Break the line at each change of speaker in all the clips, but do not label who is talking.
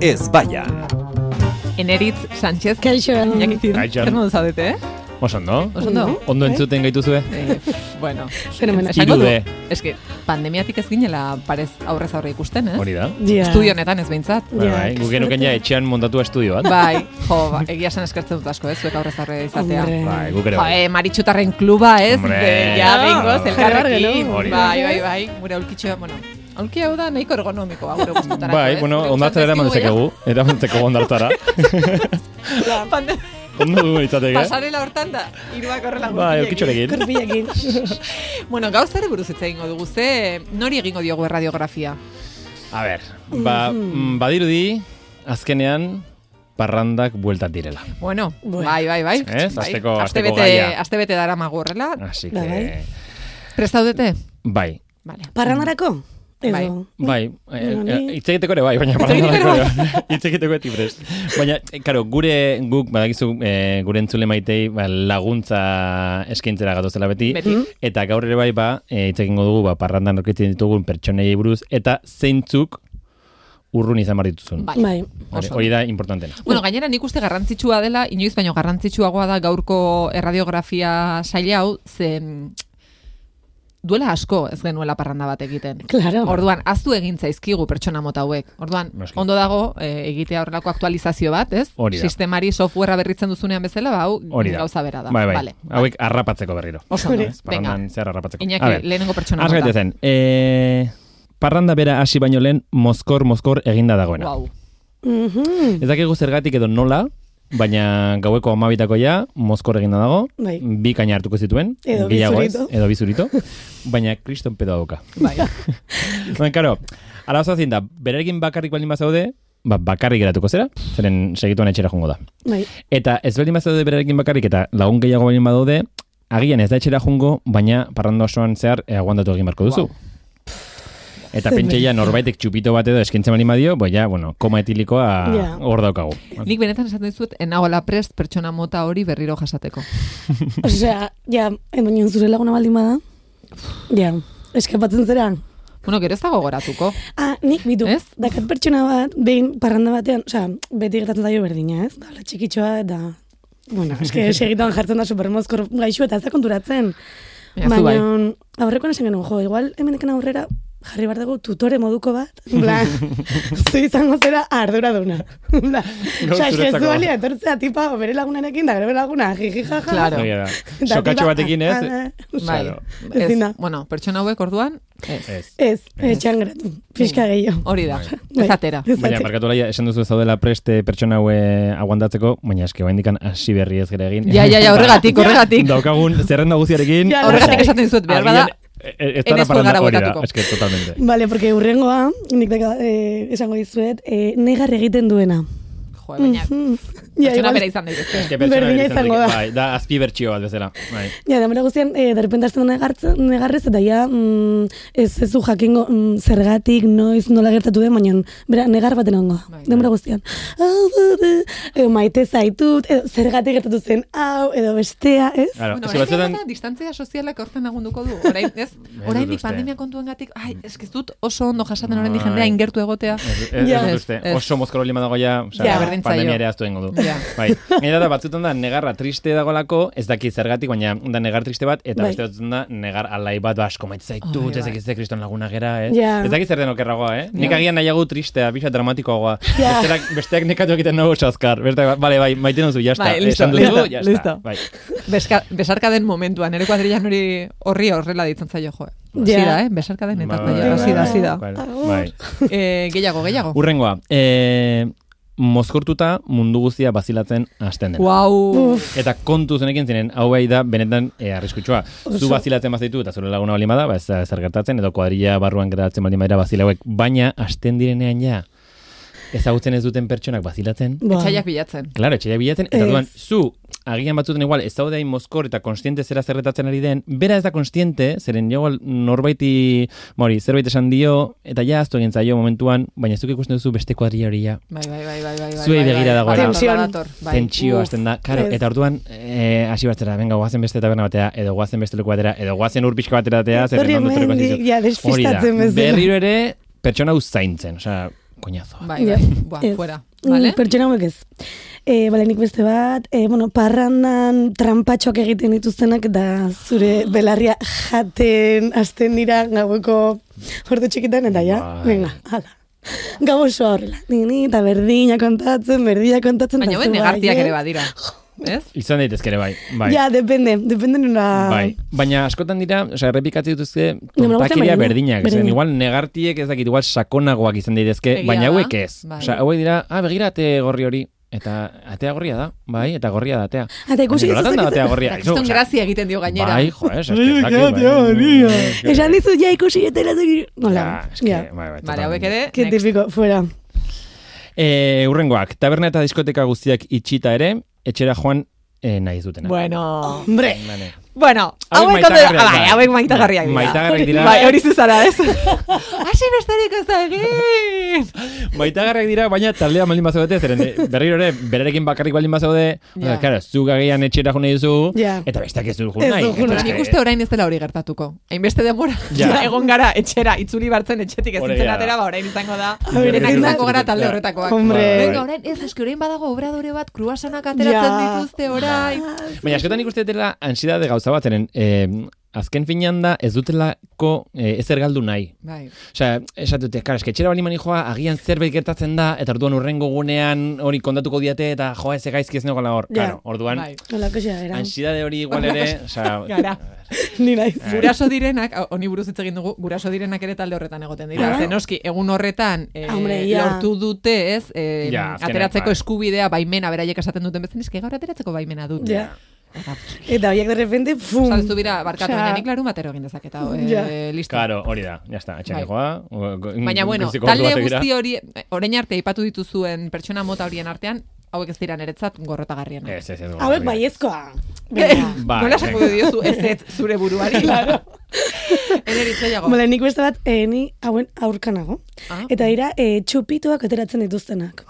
ez baian.
Eneritz Sánchez,
Kaixo.
Iñaki Zir,
Kaixo.
zer modu zaudete, eh?
Oso ondo?
Oso ondo?
Bai.
Ondo entzuten gaituzue?
Eh, bueno,
Fenomena.
Esango du?
Hiru D.
eske pandemiatik ez ginela parez aurrez aurre ikusten, eh?
Hori da.
Ja.
Estudio honetan ez behintzat.
Bai,
Ja,
bai.
ke
Guk genuken ja etxean montatua estudio bat.
Bai, jo, ba, egia esan eskertzen dut asko, ez, zuek aurrez aurre izatea.
Hombre.
Bai, guk ere
Jo,
bai.
eh, maritxutarren kluba, ez?
Hombre.
Be- Ja, bengoz,
Bai.
elkarrekin.
Hori
da.
Bai, bai, bai, gure aulkitxoa, bueno, aulki hau da nahiko ergonomikoa, gure guztutara.
Bai, bueno, ondartzara eraman
eh?
dezakegu. Eraman dezakegu ondartzara. Ondo dugu litzateke.
Pasarela hortan da, iruak horrela
Bai,
guztiekin.
okitxorekin.
Korpilekin.
Bueno, gaur zer buruz hitz egingo dugu, ze nori egingo diogu erradiografia?
A ber, ba,
Mm-hmm.
mm, badirudi, azkenean, parrandak bueltat direla.
Bueno,
Bueno.
bai, bai, bai.
Ez,
Bai.
asteko- asteko
bete,
gaia.
Aste bete dara magurrela.
Así
Ba, bai.
que...
Prestaudete?
Bai,
Vale.
Parrandarako? Edo-
Bai.
Bai,
Bueno,
eh,
ni-
hitz egiteko ere bai, baina
egiteko
parrandarako ere bai. hitz egiteko eti prest. Baina, eh, karo, gure guk badakizu eh, gure entzule maitei ba, laguntza eskaintzera gatozela beti,
Beti.
eta gaur ere bai ba eh, hitz egingo dugu ba parrandan roketzen ditugun pertsonei buruz eta zeintzuk urrun izan behar dituzun.
Bai.
Bai.
Hori-
Oso.
Hori da importantena.
Bueno, gainera nik uste garrantzitsua dela, inoiz baino garrantzitsuagoa da gaurko erradiografia saile hau, ze mm, duela asko ez genuela parranda bat egiten.
Claro.
Orduan, aztu egin zaizkigu pertsona mota hauek. Orduan,
Noski.
ondo dago eh, egitea horrelako aktualizazio bat, ez?
Hori da.
Sistemari softwarea berritzen duzunean bezala, ba, hau
Hori da.
gauza bera da.
Bai, bai.
Vale.
Hauek harrapatzeko berriro.
Oso ondo,
Ez,
venga.
Parrandan zehar harrapatzeko. A
Iñaki,
ber,
lehenengo pertsona
has
mota.
gaitezen, eh, parranda bera hasi baino lehen mozkor mozkor eginda dagoena.
Wow.
Mhm.
Ez dakigu zergatik edo nola, baina gaueko amabitako ja, mozkor eginda dago,
Bai.
bi kaina hartuko zituen,
Edo bi
gehiago ez,
zurito.
edo bizurito, baina kriston pedo dauka.
Bai.
Baina, karo, arazoa zein da, berarekin bakarrik baldin bazaude, ba, bakarrik geratuko zera, zeren segituan etxera jongo da.
Bai.
Eta ez baldin bazaude berarekin bakarrik eta lagun gehiago baldin badaude, agian ez da etxera jungo, baina parranda osoan zehar eh, aguantatu egin beharko duzu.
Wow.
Eta
Bai.
pentsaia norbaitek txupito bat edo eskintzen baldin badio, bo ja, bueno, koma etilikoa
Ja.
hor daukagu.
Nik benetan esaten dizut, enagola prest pertsona mota hori berriro jasateko.
Osea, ja, eh, baina zure laguna baldin bada. Ja, eskapatzen zera.
Bueno, gero ez dago goratuko.
Ah, nik bitu.
Ez?
Dakat pertsona bat, behin parranda batean, osea, beti gertatzen zaio berdina, ez? Dala txikitxoa eta... Bueno, eske segituan jartzen da supermozkor gaixu eta ez da konturatzen.
Ja, zu bai.
Baina, aurrekoan esan genuen, jo, igual hemendekan aurrera jarri behar dugu tutore moduko bat, en plan, zu izango zera arduraduna. Bla.
Gaur
Osea, eske
zuretzako.
zu balia etortzea tipa bere lagunarekin da bere laguna, jiji jaja.
Claro.
Egia da.
Eta
Sokatxo
tipa,
batekin ez,
ah, ah,
Bai.
Claro.
Ez,
Ezin da.
bueno, pertsona hauek orduan, ez.
ez.
Ez, etxean geratu, pixka gehiago.
Hori da,
Bai.
ez atera.
Ez
Baina,
ate-
markatu laia, esan duzu ez zaudela preste pertsona haue aguantatzeko, baina eske oraindik hasi berri ez gara egin.
Ja, ja, ja, horregatik, horregatik.
Daukagun zerrenda guztiarekin. eh,
Ja,
Horregatik esaten dizuet, behar bada,
ez dara
enez
paranda
kolgara
hori da,
botatuko.
eske totalmente.
Vale, porque urrengoa, nik deka, eh, esango dizuet, eh, negar egiten duena.
jo, baina,
Hmm. Ja,
pertsona
igual-
bera izan daitezke.
Eske pertsona
Berdina
bere izan
izango
daiteke,
da.
Bai, da azpi bertxio bat bezala. Bai.
Ja, denbora guztian, e, derrepente hasten da negartzen, negarrez, eta ja, mm, ez ez du jakingo mm, zergatik, noiz, nola gertatu den, baina, bera, negar baten ongo,
Bai.
denbora guztian. Au, bu, bu, edo maite zaitut, edo zergatik gertatu zen, hau, edo bestea, ez?
Claro,
Bueno, bai.
eske
orain
batzuetan,
da, distantzia sozialak horten lagunduko du. Orain, ez, oraindik
uste.
pandemia kontuengatik, ai, ez ez dut oso ondo jasaten oraindik
Bai.
jendea ingertu egotea.
Ez- ez
Ja.
dut
Ez,
uste,
ez.
oso mozkoro lima dago ja, osea,
Ja, berdin zaio.
pandemia ere aztu ingo du.
Ja.
Bai. Eta da, batzutan da, negarra triste dagoelako, ez daki zergatik, baina da negar triste bat, eta
Bai.
beste batzutan da, negar alai bat, ba, asko maite zaitu,
Ai,
ez
bai.
dakit ze kriston laguna gera, ez?
Ja.
Ez dakit zer den okerragoa, eh? Nik
Ja.
agian nahiago tristea, bisa dramatikoagoa.
Ja.
Besteak, besteak nekatu egiten nago osaskar. Besteak, bale, bai, maite nuzu, jazta.
Bai, listo,
Esan duzu,
listo,
jazta.
listo.
Bai.
Beska, besarka den momentuan, ere kuadrilan hori horri horrela ditzen zaio jo.
Ja.
Zida, eh? Besarka den eta ja,
bai,
zida,
bai.
zida.
Bai.
Agur.
bai.
Eh, gehiago, gehiago.
Urrengoa, eh, mozkortuta mundu guztia bazilatzen hasten dena.
Wow.
Eta kontu zenekin zinen, hau bai da, benetan e, arriskutsua. Zu
Oso.
bazilatzen bazitu eta zure laguna bali bada, ba, ez da ezer gertatzen, edo kuadrilla barruan geratzen bali badira bazilauek. Baina, hasten direnean ja, ezagutzen ez duten pertsonak bazilatzen.
Ba.
Etxaiak bilatzen.
Claro, etxeia bilatzen, eta
Ez.
duan, zu, agian batzuten igual, ez daude hain mozkor eta konstiente zera zerretatzen ari den, bera ez da konstiente, zeren jo norbaiti, mori, zerbait esan dio, eta ja, aztu egin zaio momentuan, baina zuk ikusten duzu beste kuadrilla hori ja,
Bai, bai, bai, bai, bai, bai.
Zuei
bai,
begira
bai.
dagoena.
Badator,
Tensión.
badator, bai.
tentsio
Uf.
hasten da. Claro,
Ez.
eta orduan eh, hasi bertzera, venga, goazen beste taberna batera, edo goazen beste leku batera, edo goazen ur pixka batera atera, zer
Etorri
non dut
hemendik,
rekonstituzio.
ja,
Hori da,
despistatzen bezala.
Berriro ere, pertsona hau zaintzen, osea, koñazoa.
Bai, bai, buah,
Ez.
fuera.
Mm,
Vale?
Pertsona hauek ez. E, bale, nik beste bat, e, bueno, parrandan trampatxoak egiten dituztenak da
Ah.
zure belarria jaten hasten dira gaueko ordu txikitan eta ja,
Bai.
venga, hala. Gau osoa horrela, ni, ni, eta berdina kontatzen, berdina kontatzen. bai,
Baina ben negartiak ere badira. Ez?
Izan daitezke ere bai. bai.
eh? Ja, depende, depende nora...
Bai, baina askotan dira, osea, errepikatzen dituzke
Baina gustatzen
tontakeria
baina,
berdinak, zen
berdina.
igual negartiek ez dakit, igual sakonagoak izan daitezke,
Egia
baina
da,
hauek ez.
bai.
Osea, hauek dira, ah, begira ate gorri hori, eta atea gorria da, bai, eta gorria da atea.
Eta ikusi
Baina nolatan
ez
da
dakit-
atea gorria?
Eta kriston
Osea,
grazia egiten dio gainera.
Bai, jo, ez,
Ai,
ez
atea gorria. Esan dizut, ja, ikusi eta erazik... Nola,
Ja, eske,
ja.
bai, bai,
Bale,
totalmente.
hauek ere,
Que
next.
tipiko, fuera.
Eh, urrengoak, taberna eta diskoteka guztiak itxita ere, etxera joan eh, nahi ez dutena.
Bueno,
Hombre,
Vale.
bueno,
Hauek
hauek ondo,
maitagarriak
bai,
da.
hauek maitagarriak dira.
Maitagarriak dira.
Bai, hori zuzara, ez? Asi besterik ez da egin!
Baitagarrak dira, baina taldea baldin bazaudete, zeren eh, berriro ere, berarekin bakarrik baldin bazaude, yeah.
Ja.
claro, zuk agian etxera jo nahi duzu,
Ja.
eta besteak ez du jo
Ez
nahi.
du jo
Eta
Bueno,
nahi.
eske-
nik uste orain ez dela hori gertatuko. Hainbeste denbora
Ja.
egon gara etxera, itzuli bartzen etxetik ez
Hori
nintzen
da.
atera, ba, orain izango da.
A ber,
Denak
ez da-
izango gara talde
Ja.
horretakoak.
hombre.
Bai,
Venga, orain, ez, eski orain badago obradore bat, kruasanak ateratzen
Ja.
dituzte orain.
Ah,
Baina askotan nik uste dela ansiedade gauza bat, zeren eh, azken finean da ez dutelako eh, ezer galdu nahi.
Bai.
Osea, esatute, karo, eske etxera baldin manijoa, agian zerbait gertatzen da, eta orduan urrengo gunean hori kontatuko diate, eta joa ez gaizki ez negoela hor.
Ja.
Claro, orduan,
Bai.
nola kosia era.
ansiedade hori igual ere, osea,
Gara.
ah. Ni naiz.
Eh.
Guraso direnak, hau, honi buruz hitz egin dugu, guraso direnak ere talde horretan egoten dira.
Ah.
Ze noski, egun horretan eh,
Hombre, ja.
lortu dute, ez, eh,
Ja, azkenean,
ateratzeko
bai.
eskubidea, baimena, beraiek esaten duten bezan, eski gaur ateratzeko baimena dut.
Ja. Eta horiek de repente, fum.
Osa, ez du bira, barkatu,
Osea,
baina nik larun batero egin dezaketa, eh,
Ja.
listo.
Karo, hori da, jazta, etxera
Bai.
joa. go- go-
Baina, bueno,
goizeko ordu
talde
batek dira.
guzti hori, eh, orain arte aipatu dituzuen pertsona mota horien artean, hauek ez dira niretzat gorrotagarriena.
Ez, ez, ez.
Hauek baiezkoa. Venga.
Bai,
Nola esango
venga.
diozu ez ez zure buruari? claro. Ene ditzoiago.
Bale, nik beste bat, eh, ni hauen aurkanago.
Ah.
Eta dira, eh, txupituak ateratzen dituztenak.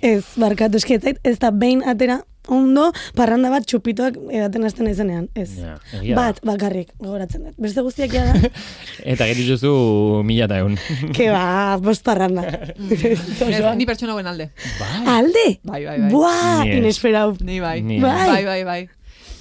Ez, barkatu eski ez zait, ez da behin atera ondo, parranda bat txupituak edaten hasten izenean, ez.
Ja, egia da.
bat, bakarrik, gogoratzen dut. Beste guztiak ja da,
Eta gero dituzu mila eta egun.
ke ba, bost parranda.
Ez, Ni pertsona hauen alde.
Alde!
Bai, bai, bai.
Buah,
Ni ez.
inesperau.
Ni bai.
Ni
Bai.
Bai, bai, bai.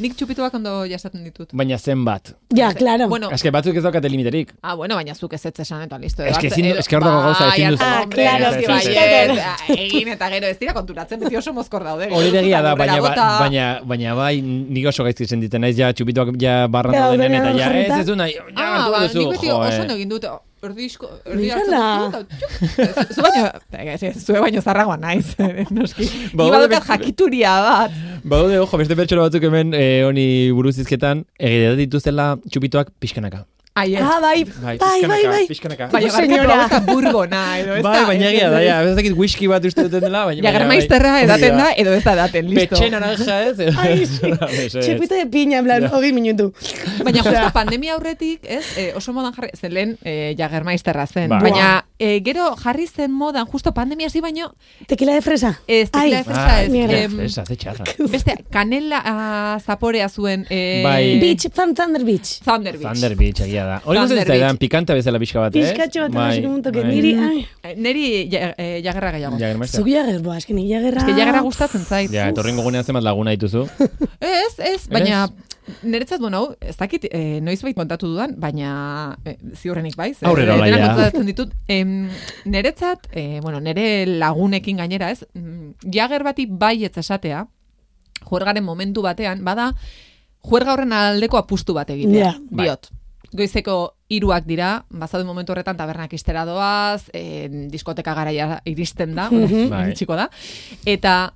Nik txupituak ondo jasaten ditut.
Baina zenbat.
Ja, claro.
Bueno,
Eske batzuk ez daukate limiterik.
Ah, bueno, baina zuk ez ez esan eta listo.
Eske
hartze-
ezin du-
edo-
eske hor dago gauza,
Bai,
ezin duzu.
hartze-
Ah,
hombre,
claro,
eske
ez,
bai,
ez,
ez,
ez.
ah, egin eta gero ez dira konturatzen, beti oso mozkor daude.
Hori
Gero
egia da,
aurrera
baina, ba,
bota.
baina, baina bai, nik oso gaizki sentitzen naiz, ja, txupituak ja barran
Ja,
dauden
ordenean
eta ja, ez
jarrita.
ez du nahi, ja,
Ah,
hartu
ba,
duzu,
nik beti
jo,
oso
eh.
ondo egin dut, erdi isko, erdi
Mira
hartzen
la.
duzu, eta txuk. Zu baino, eh, ez, ez, zue baino zarragoa naiz, eh, noski.
Ba,
Ni
hori
badokat
beste-
jakituria bat.
Badaude, ojo, beste pertsona batzuk hemen eh, honi buruz izketan, egidea dituztela txupituak pixkanaka.
Ai, ez.
Ah, bai,
Bai,
bai, bai, bai.
pixkanaka.
Baina,
Pues,
barkatu,
señora.
hau ez da burgona, edo ez da.
Bai, baina
ez-
egia da,
ez-
ja, ez dakit whisky bat uste duten dela, baina... baina bai.
Jagermaizterra
Hori
edaten da, edo ez da daten, listo.
Petxe naranja ez?
Ai, sí.
Mesedez.
Txupito de piña, en plan, "Oh, hogei minutu.
Baina
Osea.
justo pandemia aurretik, ez, eh, oso modan jarri, zen lehen eh, jagermaizterra zen.
Bai.
Baina eh, gero jarri zen modan, justo pandemia hasi baino,
Tequila de fresa.
ez,
Ai,
tekila de fresa,
Ah,
ez,
mierda.
em,
Esa, ze txarra.
beste, kanela ah, zaporea zuen, eh,
Bai.
Beach, fan Thunder Beach.
Thunder Beach.
Thunder Beach, egia da. Hori
Thunder
guztetan zaidan,
Beach.
pikanta bezala pixka bat, ez?
Pizkatxo bat
Bai,
hasi komuntok,
bai.
niri, ai,
Eh, Neri ja- eh, jagerra gehiago.
Ja, germaizta.
zuki jager, boa, esken jagerra.
Ez que jagera gustatzen zait.
Ja, etorrengo gunean zenbat laguna dituzu.
Ez, ez, baina... Niretzat, bueno, hau, ez dakit, eh, noizbait kontatu dudan, baina eh, ziurrenik baiz. eh,
Aurrera,
denak
Olaia.
kontatzen ditut. Em, niretzat, eh, bueno, nire lagunekin gainera, ez, mm, jager bati bai ez esatea, juergaren momentu batean, bada, juerga horren aldeko apustu bat egitea,
Ja.
Bai.
diot. Goizeko hiruak dira, bazauden momentu horretan tabernak istera doaz, eh, diskoteka garaia iristen da, bueno,
Bai.
iritsiko da, eta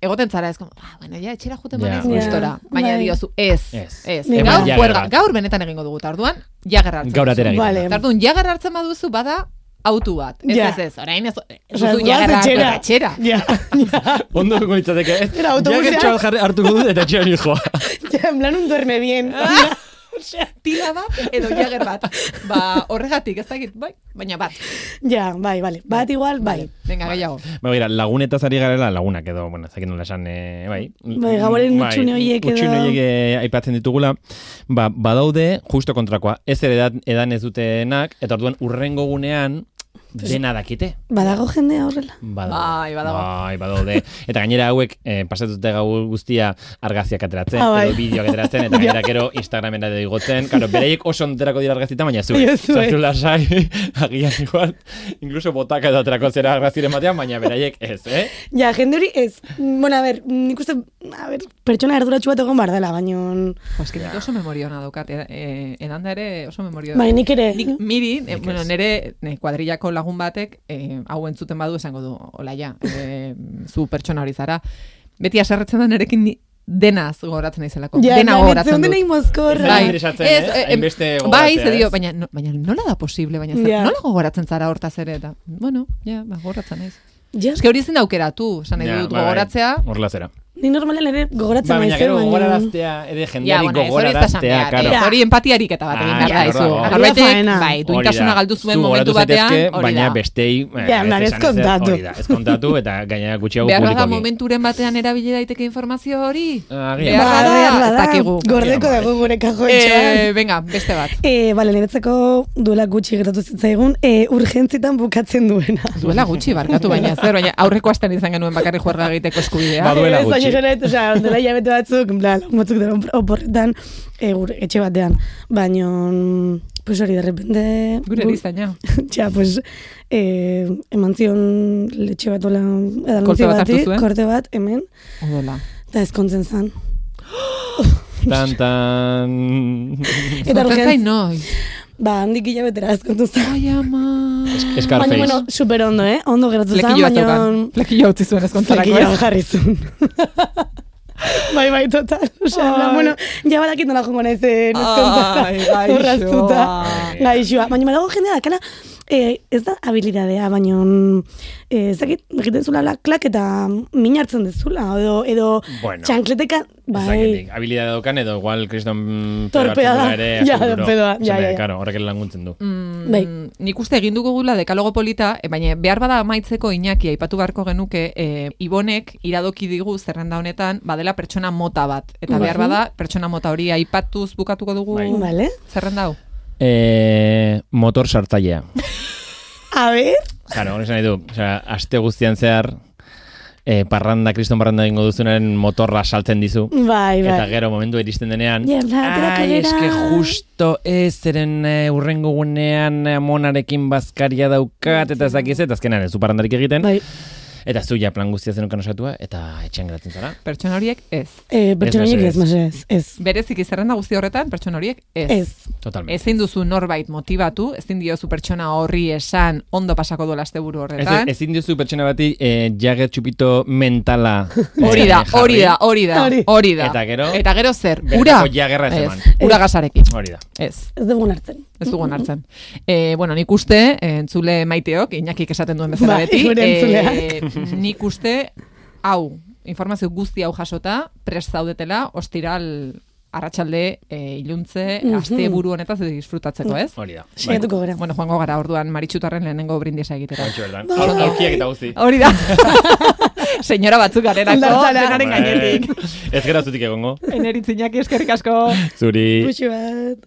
egoten zara ez, como, ah, bueno, ja, etxera juten
Ja.
yeah.
Ja.
gustora. Baina
Bai.
diozu, ez, ez,
Ez.
ez.
Eman
Gaur,
jager
juerga,
bat.
gaur benetan egingo dugu, eta orduan, jager hartzen
Gaur
duzu.
atera egiten
Vale.
da.
Eta orduan, jager hartzen baduzu, bada, autu bat. Ez,
Ja.
ez, ez, orain ez, ez
Osea,
duzu
ez goaz
jager hartu
etxera.
eta etxera.
Ja, ja,
Ondo dugu litzateke, ez?
Era autobusean.
Jagertxoa jarri- hartuko dut eta etxean joa.
ja, en plan, un duerme bien.
Ah. Tila bat, edo jager bat. Ba, horregatik, ez dakit, bai, baina bat.
Ja, bai, vale. Bat igual, bai.
Venga, gehiago.
Ba, bera, lagunetaz ari garela lagunak edo, bueno, zakin nola esan, eh, bai.
Bai, gauaren hutsune horiek edo-
Utxune horiek eh, aipatzen ditugula. Ba, badaude, justo kontrakoa, ez ere edan, edan ez dutenak, eta orduan urrengo gunean, dena dakite.
Badago jendea horrela.
Badago.
Bai, badago.
Bai, badaude. Eta gainera hauek eh, pasatute gau guztia argaziak ateratzen,
Ah, bai.
edo bideoak ateratzen, eta gainera gero Instagramera edo igotzen. Karo, bereiek oso onterako dira argazita, baina zu.
Baina zu, eh.
Zartu lasai, agian igual, incluso botaka edo aterako zera argaziren batean, baina beraiek ez, eh?
Ja, jende hori ez. Mm, Bueno, a ber, nik uste, a ber, pertsona erduratxu bat egon bardala, baino...
Pues que nik oso memoria hona daukat, e, e, enanda ere oso memoria
Bai, nik ere.
Nik miri, eh,
Nik
bueno,
ez.
nire eh, kuadrillako lagun batek, eh, hau entzuten badu esango du, hola ja, eh, zu pertsona hori zara. Beti aserretzen da nerekin ni- denaz gogoratzen naizelako.
Ja,
dena
ja,
gogoratzen
entzun
dut.
denei mozkorra.
Bai. interesatzen, eh?
eh,
Hainbeste
bai,
gogoratzea,
ze dio,
ez?
baina, no- baina nola da posible, baina zer,
Ja.
nola gogoratzen zara hortaz ere, eta, bueno, ja, ba, gogoratzen naiz.
Ja,
Ez que hori ezin da aukeratu, esan nahi
bai,
dut, gogoratzea,
Horla zera.
ni normalen ere gogoratzen
Ba, baina
naiz, eh,
gero
baina-
gogoraraztea, ere
Ja,
jendeari
bueno, ez hori ez da
gogoraraztea,
esan behar,
karo.
ez hori empatiarik eta bat egin
Ah,
behor da,
ja,
izu.
horra dago.
Norbetek,
Hori da faena.
bai,
Hori
duintasuna
da.
galdu
Zu
zuen momentu
gogoratu
batean,
zaitezke,
hori
baina
da.
bestei... eh,
Ja, nare,
ez esan ezer,
ezkontatu.
Hori da, ezkontatu eta gainera gutxiago
Behar bada
publikoki. Ah,
momenturen batean erabili daiteke informazio hori?
Agian.
Behar
Ba,
bada,
behar
ez
bada,
dakigu.
Gordeko
Bai.
dago gure kajoetxean.
Eh, venga, beste bat.
E, bale, niretzako duela gutxi gertatu zitzaigun, e, urgentzitan bukatzen duena.
Duela gutxi barkatu baina zer, baina aurreko astean izan genuen bakarrik juerga egiteko eskubidea.
Ba, duela
Ez, baina
gutxi.
gero, ez, osea, duela hilabete batzuk, en plan, lagun batzuk dara oporretan, e, gure etxe batean. Baina, pues hori, de repente...
Gure
gu-
erizaina.
Ja, pues, eh, eman zion letxe bat ola, edalontzi
Kolpe bat
bati,
hartu zuen?
korte bat, hemen,
Odola.
eta ezkontzen zan. Bai.
Tan, tan...
Eta
Zortzen
urgentz-
zain noiz.
Ba, handik hilabetera ezkontu zan.
Ai, ama.
Baina,
Scarface.
bueno, super ondo, eh? Ondo geratu zan,
Flekillo
baina...
zeukan. Flekillo utzi zuen ezkontzarako
Flekillo
ez.
jarri zuen. bai, bai, total. Osea, en plan,
Ai.
bueno, ja badakit nola jongo naiz eh, ezkontzara.
Ai, bai, gaixoa.
Horraztuta. Bai, Gaixoa. Baina malago jendea dakana, eh, ez da habilidadea, baina eh, ez dakit, egiten zula la klak eta min hartzen dezula, edo, edo
Bueno.
txankleteka, bai,
Zaketik, habilidade daukan edo igual kriston mm,
Torpea
pedo hartzen duela
da.
ere,
Ja,
aseguro.
pedoa, ja,
Esan
ja,
nahi,
ja.
Claro, horrek ere languntzen du.
Mm,
Bai.
Nik uste egin dugu gula dekalogo polita, eh, baina behar bada amaitzeko Iñaki aipatu beharko genuke, eh, Ibonek iradoki digu zerrenda honetan badela pertsona mota bat. Eta behar
Bai.
bada pertsona mota hori aipatuz bukatuko dugu
Bai.
bale?
zerrenda hau.
Eh, motor sartzailea.
A ber,
Claro, hori esan nahi du. Osea, aste guztian zehar eh, parranda, kriston parranda ingo duzunaren motorra saltzen dizu.
bai, bai.
Eta gero momentu iristen denean,
Ja, bla, aterako
ai,
gara."
eske justo ez zeren eh, urrengo gunean eh, monarekin bazkaria daukat, eta ez dakiz, eta azkenan ez du parrandarik egiten,
Bai,
eta zu ja plan guztia zenukan osatua, eta etxean geratzen zara.
Pertsona horiek ez.
eh, pertsona horiek
mesedez.
ez, mesedez, ez,
Bereziki zerrenda guzti horretan pertsona horiek ez.
ez.
Totalmente.
Ezin duzu norbait motibatu, ezin diozu pertsona horri esan ondo pasako duela asteburu
Ez,
horretan.
ezin diozu pertsona bati eh, jager txupito mentala.
Hori da,
eh, jarri.
hori da, hori da,
Hori.
hori da.
Eta gero-
Eta gero zer,
Bertako
ura?
jagerra ez eman.
ura gasarekin.
Hori da.
Ez,
Ez dugun hartzen.
ez dugu hartzen. E, bueno, nik uste, eh, entzule maiteok, inakik esaten duen bezala
Bai,
beti,
gure
eh,
entzuleak.
nik uste, hau, informazio guzti hau jasota, prest zaudetela, ostiral arratsalde eh, iluntze,
Mhm.
aste buru honetaz disfrutatzeko, ez?
Hori da.
Saiatuko gara.
Bueno, joango gara, orduan maritxutarren lehenengo brindisa egitera.
Hantxe bertan. Bai,
Bai.
Aur- Aurkiak eta guzti.
Hori da. Senyora batzuk garelako,
Hondartzara.
네. Bai.
denaren gainetik.
Ez gerazutik egongo.
Eneritzinak eskerrik asko.
Zuri.
Puxu bat.